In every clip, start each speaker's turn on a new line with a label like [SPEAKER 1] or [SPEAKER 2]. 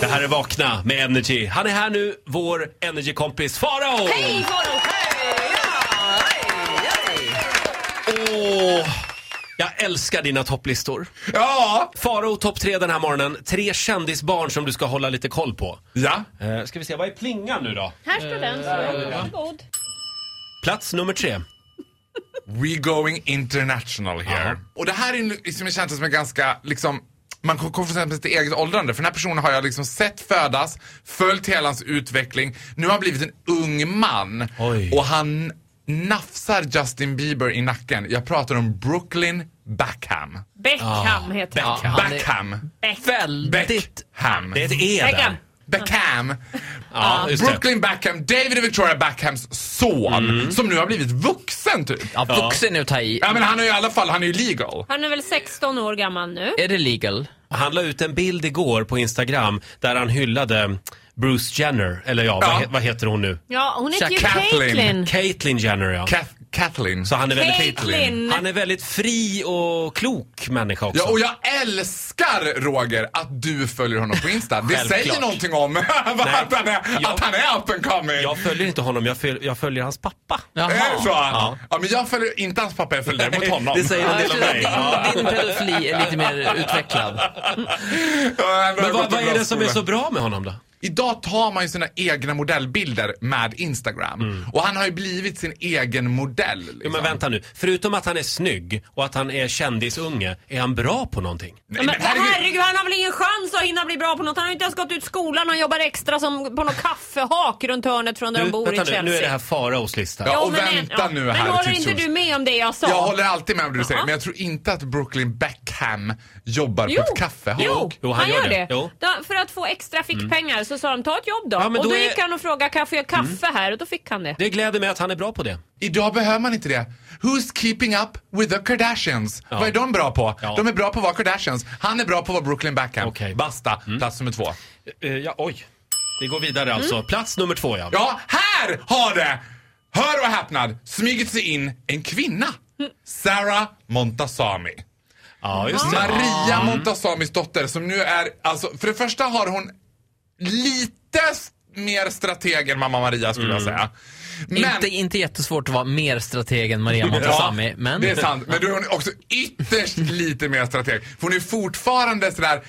[SPEAKER 1] Det här är Vakna med Energy. Han är här nu, vår Energy-kompis Farao!
[SPEAKER 2] Hej Farao! Hej! Ja, hej, hej.
[SPEAKER 1] Åh, jag älskar dina topplistor.
[SPEAKER 3] Ja!
[SPEAKER 1] Farao topp tre den här morgonen. Tre kändisbarn som du ska hålla lite koll på.
[SPEAKER 3] Ja.
[SPEAKER 1] Eh, ska vi se, vad är plingan nu då?
[SPEAKER 4] Här står den. Så. Varsågod.
[SPEAKER 1] Plats nummer tre.
[SPEAKER 3] We going international here.
[SPEAKER 1] Jaha.
[SPEAKER 3] Och det här är ju liksom, det känns som en ganska, liksom, man kommer till exempel till eget åldrande. För den här personen har jag liksom sett födas, följt hela hans utveckling. Nu har han blivit en ung man.
[SPEAKER 1] Oj.
[SPEAKER 3] Och han nafsar Justin Bieber i nacken. Jag pratar om Brooklyn Backham.
[SPEAKER 4] Beckham heter han.
[SPEAKER 1] Beckham.
[SPEAKER 4] han. är-
[SPEAKER 3] Backham.
[SPEAKER 1] Väldigt...
[SPEAKER 3] Backham.
[SPEAKER 1] Det är ett E
[SPEAKER 4] Beckham.
[SPEAKER 1] där.
[SPEAKER 3] Beckham.
[SPEAKER 1] Ja, just det.
[SPEAKER 3] Brooklyn Backham, David och Victoria Backhams son.
[SPEAKER 1] Mm.
[SPEAKER 3] Som nu har blivit vuxen typ.
[SPEAKER 5] Ja, vuxen nu ta i.
[SPEAKER 3] Ja men han är ju i alla fall, han är ju legal.
[SPEAKER 4] Han är väl 16 år gammal nu.
[SPEAKER 5] Är det legal?
[SPEAKER 1] Han la ut en bild igår på Instagram där han hyllade Bruce Jenner, eller ja,
[SPEAKER 3] Ja.
[SPEAKER 1] Vad, he- vad heter hon nu?
[SPEAKER 4] Ja, hon heter ju
[SPEAKER 3] Kathleen.
[SPEAKER 4] Caitlyn.
[SPEAKER 1] Caitlyn Jenner ja.
[SPEAKER 3] Kath- Kathleen.
[SPEAKER 1] Så han är väldigt,
[SPEAKER 4] Caitlyn!
[SPEAKER 1] han är väldigt fri och klok människa också.
[SPEAKER 3] Ja, och jag älskar Roger att du följer honom på Insta. Det
[SPEAKER 1] Självklart.
[SPEAKER 3] säger någonting om vad att, han är,
[SPEAKER 1] Ja.
[SPEAKER 3] att han är up and coming.
[SPEAKER 1] Jag följer inte honom, jag följer, jag följer hans pappa.
[SPEAKER 5] Jaha.
[SPEAKER 3] Är det så?
[SPEAKER 1] Ja.
[SPEAKER 3] Ja. men jag följer inte hans pappa, jag följer däremot honom.
[SPEAKER 1] Det säger en
[SPEAKER 5] Ja,
[SPEAKER 1] del om mig.
[SPEAKER 5] jag känner att din, din pedofili är lite mer utvecklad.
[SPEAKER 3] Ja, ändå har
[SPEAKER 1] Men
[SPEAKER 3] jag
[SPEAKER 1] vad,
[SPEAKER 3] gått
[SPEAKER 1] vad
[SPEAKER 3] en
[SPEAKER 1] är
[SPEAKER 3] bra
[SPEAKER 1] det som är
[SPEAKER 3] skola.
[SPEAKER 1] så bra med honom då?
[SPEAKER 3] Idag tar man ju sina egna modellbilder med Instagram. Och han har ju blivit sin egen modell. Liksom.
[SPEAKER 1] Jo, Mm. men vänta nu, förutom att han är snygg och att han är kändisunge, är han bra på någonting?
[SPEAKER 3] Nej,
[SPEAKER 4] Men
[SPEAKER 3] herregud.
[SPEAKER 4] herregud, han har väl ingen chans att hinna bli bra på något. Han har ju inte ens gått ut skolan. Han jobbar extra som på något kaffehak runt hörnet från där
[SPEAKER 1] Du,
[SPEAKER 4] de bor i
[SPEAKER 1] vänta nu,
[SPEAKER 4] Chelsea.
[SPEAKER 1] nu är det här Faraos lista.
[SPEAKER 3] Ja.
[SPEAKER 4] Jo,
[SPEAKER 3] och
[SPEAKER 4] men-
[SPEAKER 3] vänta nu
[SPEAKER 4] men
[SPEAKER 3] här,
[SPEAKER 4] håller
[SPEAKER 3] tills
[SPEAKER 4] inte
[SPEAKER 3] hon-
[SPEAKER 4] du med om det jag sa?
[SPEAKER 3] Jag håller alltid med om det du säger,
[SPEAKER 4] Jaha.
[SPEAKER 3] men jag tror inte att Brooklyn Beckham jobbar på ett kaffehak.
[SPEAKER 4] Jo,
[SPEAKER 1] Jo,
[SPEAKER 4] han, gör det.
[SPEAKER 1] Jo.
[SPEAKER 4] Då, för att få extra fickpengar så sa de ta ett jobb då.
[SPEAKER 1] Ja, men
[SPEAKER 4] och då,
[SPEAKER 1] då är-
[SPEAKER 4] gick han och frågade kan jag få göra kaffe här och då fick han det.
[SPEAKER 1] Det gläder mig att han är bra på det.
[SPEAKER 3] Idag behöver man inte det. Who's keeping up with the Kardashians?
[SPEAKER 1] Ja.
[SPEAKER 3] Vad är de bra på?
[SPEAKER 1] Ja.
[SPEAKER 3] De är bra på att vara Kardashians. Han är bra på att vara Brooklyn Beckham.
[SPEAKER 1] Okej. Mm.
[SPEAKER 3] Basta, plats nummer två.
[SPEAKER 1] Eh, ja, oj. Vi går vidare alltså. Plats nummer två ja.
[SPEAKER 3] Ja, här har det! Hör och häpnad, smugit sig in en kvinna. Sarah Montasami.
[SPEAKER 1] Ja, just det.
[SPEAKER 3] Maria
[SPEAKER 1] Mm.
[SPEAKER 3] Montasamis dotter som nu är, alltså för det första har hon lite s- mer strateg än mamma Maria skulle
[SPEAKER 1] Mm.
[SPEAKER 3] jag säga. Men-
[SPEAKER 5] Inte, inte jättesvårt att vara mer strateg än Maria Montazami,
[SPEAKER 3] Ja,
[SPEAKER 5] men...
[SPEAKER 3] Det är sant. Men då är hon också ytterst lite mer strateg. För hon är fortfarande sådär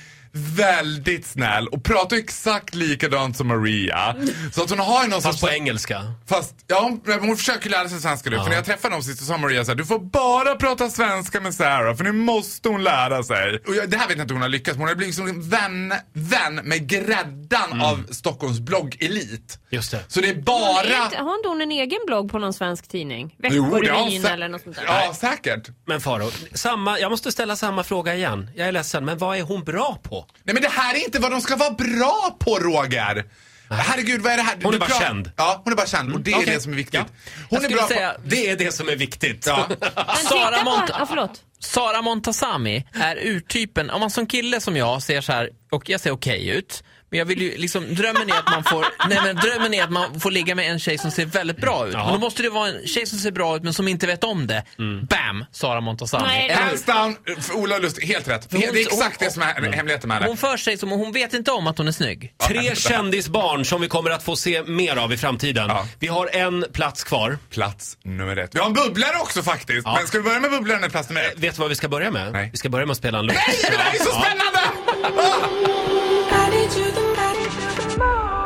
[SPEAKER 3] väldigt snäll och pratar exakt likadant som Maria. Så att hon har ju någon
[SPEAKER 1] Fast på
[SPEAKER 3] sorts...
[SPEAKER 1] engelska.
[SPEAKER 3] Fast, ja, hon, men hon försöker lära sig svenska nu. För när jag träffade dem sist så sa Maria så här, du får bara prata svenska med Sarah för nu måste hon lära sig. Och jag, det här vet jag inte om hon har lyckats med. Hon har blivit liksom en vän, vän med gräddan
[SPEAKER 1] Mm.
[SPEAKER 3] av Stockholms bloggelit.
[SPEAKER 1] Just det.
[SPEAKER 3] Så det är
[SPEAKER 4] Hon
[SPEAKER 3] bara...
[SPEAKER 4] är inte, har inte hon en egen blogg på någon svensk tidning?
[SPEAKER 3] Jo, det har hon
[SPEAKER 4] Veckorevyn
[SPEAKER 3] sä-
[SPEAKER 4] eller något sånt där?
[SPEAKER 3] Ja, säkert.
[SPEAKER 1] Men Faro, samma, jag måste ställa samma fråga igen. Jag är ledsen, men vad är hon bra på?
[SPEAKER 3] Nej men det här är inte vad de ska vara bra på Roger! Herregud vad är det här?
[SPEAKER 1] Hon är
[SPEAKER 3] Du
[SPEAKER 1] bara
[SPEAKER 3] pratar-
[SPEAKER 1] känd.
[SPEAKER 3] Ja, hon är bara känd och det är
[SPEAKER 1] Okej.
[SPEAKER 3] det som är viktigt.
[SPEAKER 1] Ja.
[SPEAKER 3] Hon
[SPEAKER 5] Mm. Jag
[SPEAKER 3] är
[SPEAKER 5] skulle
[SPEAKER 3] bra
[SPEAKER 5] säga-
[SPEAKER 1] Det är det som är viktigt.
[SPEAKER 3] Ja.
[SPEAKER 4] Men
[SPEAKER 5] Sara
[SPEAKER 4] titta
[SPEAKER 5] Monta-
[SPEAKER 4] på... Ja, förlåt.
[SPEAKER 5] Sara Montazami är urtypen, om man som kille som jag ser så här, och jag ser okej ut, men jag vill ju liksom, drömmen är att man får, nej men drömmen är att man får ligga med en tjej som ser väldigt bra ut. Men då måste det vara en tjej som ser bra ut men som inte vet om det. Bam! Sara Montazami.
[SPEAKER 4] Nej,
[SPEAKER 3] på...
[SPEAKER 5] Eller hur?
[SPEAKER 3] Hands down, eh, för Ola Lust, helt rätt.
[SPEAKER 5] hon-
[SPEAKER 3] Det är exakt
[SPEAKER 5] hon-
[SPEAKER 3] det som är hemligheten med henne.
[SPEAKER 5] Hon för sig som, hon vet inte om att hon är snygg.
[SPEAKER 1] Tre kändisbarn som vi kommer att få se mer av i framtiden.
[SPEAKER 3] Ja.
[SPEAKER 1] Vi har en plats kvar.
[SPEAKER 3] Plats nummer ett. Vi har en bubblare också faktiskt. Men ska vi börja med bubblan eller plats nummer ett?
[SPEAKER 1] Vet du vad vi ska börja med?
[SPEAKER 3] Nej.
[SPEAKER 1] Vi ska börja med att spela en låt.
[SPEAKER 3] Nej, det där är så spännande!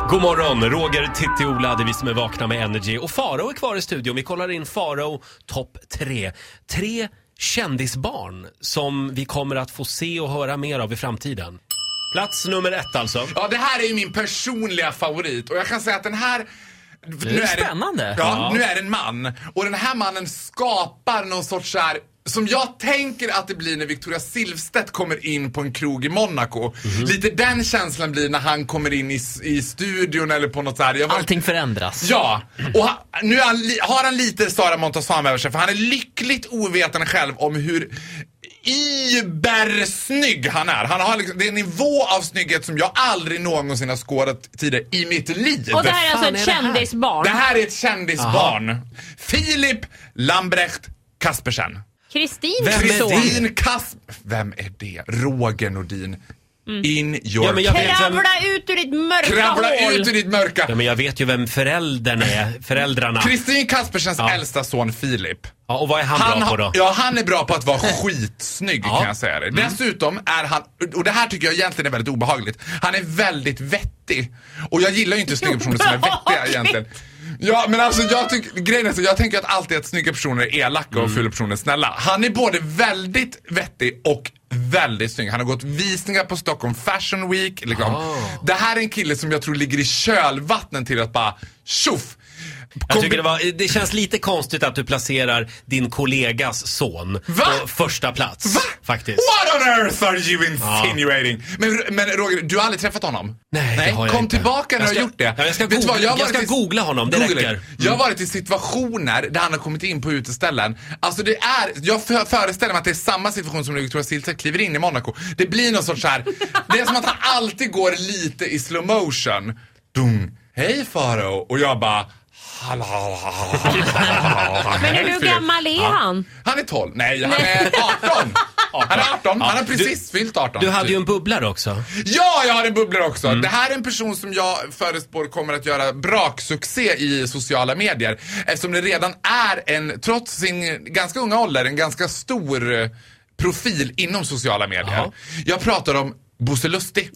[SPEAKER 1] God morgon, Roger, Titti, Ola, det är vi som är vakna med Energy. Och Farao är kvar i studion. Vi kollar in Farao topp tre. Tre kändisbarn som vi kommer att få se och höra mer av i framtiden. Plats nummer ett alltså.
[SPEAKER 3] Ja, det här är ju min personliga favorit och jag kan säga att den här nu
[SPEAKER 5] spännande.
[SPEAKER 3] Ja,
[SPEAKER 1] Ja.
[SPEAKER 3] nu är det en man. Och den här mannen skapar någon sorts så här som jag tänker att det blir när Victoria Silvstedt kommer in på en krog i Monaco. Lite den känslan blir när han kommer in i, s- i studion eller på något så här. Jag var-
[SPEAKER 5] Allting förändras.
[SPEAKER 3] Ja, och ha, nu är han, li- har han lite Sara Montazami över sig för han är lyckligt ovetande själv om hur ibersnygg han är. Han har liksom, det är en nivå av snygghet som jag aldrig någonsin har skådat tidigare i mitt liv.
[SPEAKER 4] Och det här är alltså
[SPEAKER 1] fan
[SPEAKER 4] ett
[SPEAKER 1] är det här?
[SPEAKER 4] kändisbarn.
[SPEAKER 3] Det här är ett kändisbarn. Filip Lambrecht Kaspersen.
[SPEAKER 4] Kristin
[SPEAKER 1] Vem är
[SPEAKER 4] son.
[SPEAKER 1] det?
[SPEAKER 3] Kristin Kasp... Vem är det? Roger Nordin. in your
[SPEAKER 1] Mm. Ja, men jag
[SPEAKER 3] cave.
[SPEAKER 1] vet vem,
[SPEAKER 4] Kravla ut ur ditt mörka
[SPEAKER 3] Kravla
[SPEAKER 4] hål!
[SPEAKER 3] ut ur ditt mörka.
[SPEAKER 1] ja, men jag vet ju vem föräldern är, föräldrarna.
[SPEAKER 3] Kristin Kaspersens
[SPEAKER 1] Ja.
[SPEAKER 3] äldsta son Filip.
[SPEAKER 1] Ja, och vad är han, bra på
[SPEAKER 3] har-
[SPEAKER 1] då?
[SPEAKER 3] Ja, han är bra på att vara skitsnygg
[SPEAKER 1] Ja. Mm.
[SPEAKER 3] kan jag säga det. Dessutom är han, och det här tycker jag egentligen är väldigt obehagligt, han är väldigt vettig. Och jag gillar ju inte snygga personer som är vettiga
[SPEAKER 4] Obehagligt.
[SPEAKER 3] egentligen. Ja men alltså jag tycker, grejen är så, jag tänker att alltid att snygga personer är elaka
[SPEAKER 1] Mm.
[SPEAKER 3] och fula personer är snälla. Han är både väldigt vettig och väldigt snygg. Han har gått visningar på Stockholm Fashion Week. Liksom.
[SPEAKER 1] Ah.
[SPEAKER 3] Det här är en kille som jag tror ligger i kölvattnet till att bara tjoff!
[SPEAKER 1] Jag
[SPEAKER 3] Kombi-
[SPEAKER 1] tycker det, var, det känns lite konstigt att du placerar din kollegas son
[SPEAKER 3] Va?
[SPEAKER 1] på första plats.
[SPEAKER 3] Va?
[SPEAKER 1] Faktiskt.
[SPEAKER 3] What on earth are you insinuating? Men, men Roger, du har aldrig träffat honom?
[SPEAKER 1] Nej, det har jag
[SPEAKER 3] Kom
[SPEAKER 1] inte.
[SPEAKER 3] tillbaka när
[SPEAKER 1] Jag
[SPEAKER 3] du
[SPEAKER 1] ska-
[SPEAKER 3] har gjort det.
[SPEAKER 1] Ja, jag ska
[SPEAKER 3] du
[SPEAKER 1] googla- jag
[SPEAKER 3] har varit
[SPEAKER 1] ska googla honom, det
[SPEAKER 3] Googla.
[SPEAKER 1] räcker. Mm.
[SPEAKER 3] Jag har varit i situationer där han har kommit in på uteställen. Alltså det är, jag för, föreställer mig att det är samma situation som när Victoria Silvstedt kliver in i Monaco. Det blir någon sorts så här. det är som att han alltid går lite i slow motion. Dung, hej Faro Och jag bara, hallå, hallå, hallå, hallå.
[SPEAKER 4] Men hur
[SPEAKER 3] Filip.
[SPEAKER 4] gammal är han?
[SPEAKER 3] Han är 12. Nej, han är 18. Han är 18. Han har precis fyllt 18.
[SPEAKER 1] Du hade
[SPEAKER 3] typ.
[SPEAKER 1] ju en Mm. bubblare också.
[SPEAKER 3] Ja, jag har en bubblare också. Det här är en person som jag förespår kommer att göra braksuccé i sociala medier. Eftersom det redan är en, trots sin ganska unga ålder, en ganska stor eh, profil inom sociala medier.
[SPEAKER 1] Jaha.
[SPEAKER 3] Jag pratar om Bosse Lustig.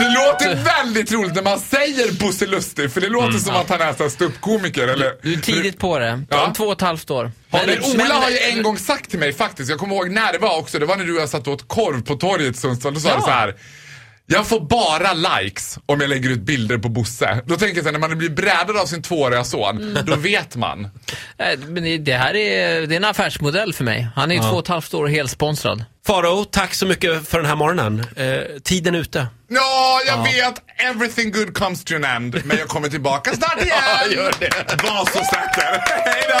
[SPEAKER 3] Det låter väldigt roligt när man säger Bosse Lustig för det låter
[SPEAKER 1] Mm.
[SPEAKER 3] som att han är så här ståuppkomiker eller...
[SPEAKER 5] Du är tidigt på det.
[SPEAKER 3] Ja.
[SPEAKER 5] Om två och ett halvt år.
[SPEAKER 3] Ja, men Ola har ju en gång sagt till mig faktiskt, jag kommer ihåg när det var också, det var när du och jag satt och åt korv på torget i Sundsvall, då sa du så här. Jag får bara likes om jag lägger ut bilder på Bosse. Då tänker jag så här, när man blir brädad av sin tvååriga son, då vet man.
[SPEAKER 5] Nej, Eh, Men det- det här är, det är en affärsmodell för mig. Han är ju två och ett halvt år och helsponsrad.
[SPEAKER 1] Faro, tack så mycket för den här morgonen. Eh, tiden är ute.
[SPEAKER 3] Ja, jag vet, everything good comes to an end, men jag kommer tillbaka snart igen. Ja, gör det. Var så säker. Hej då!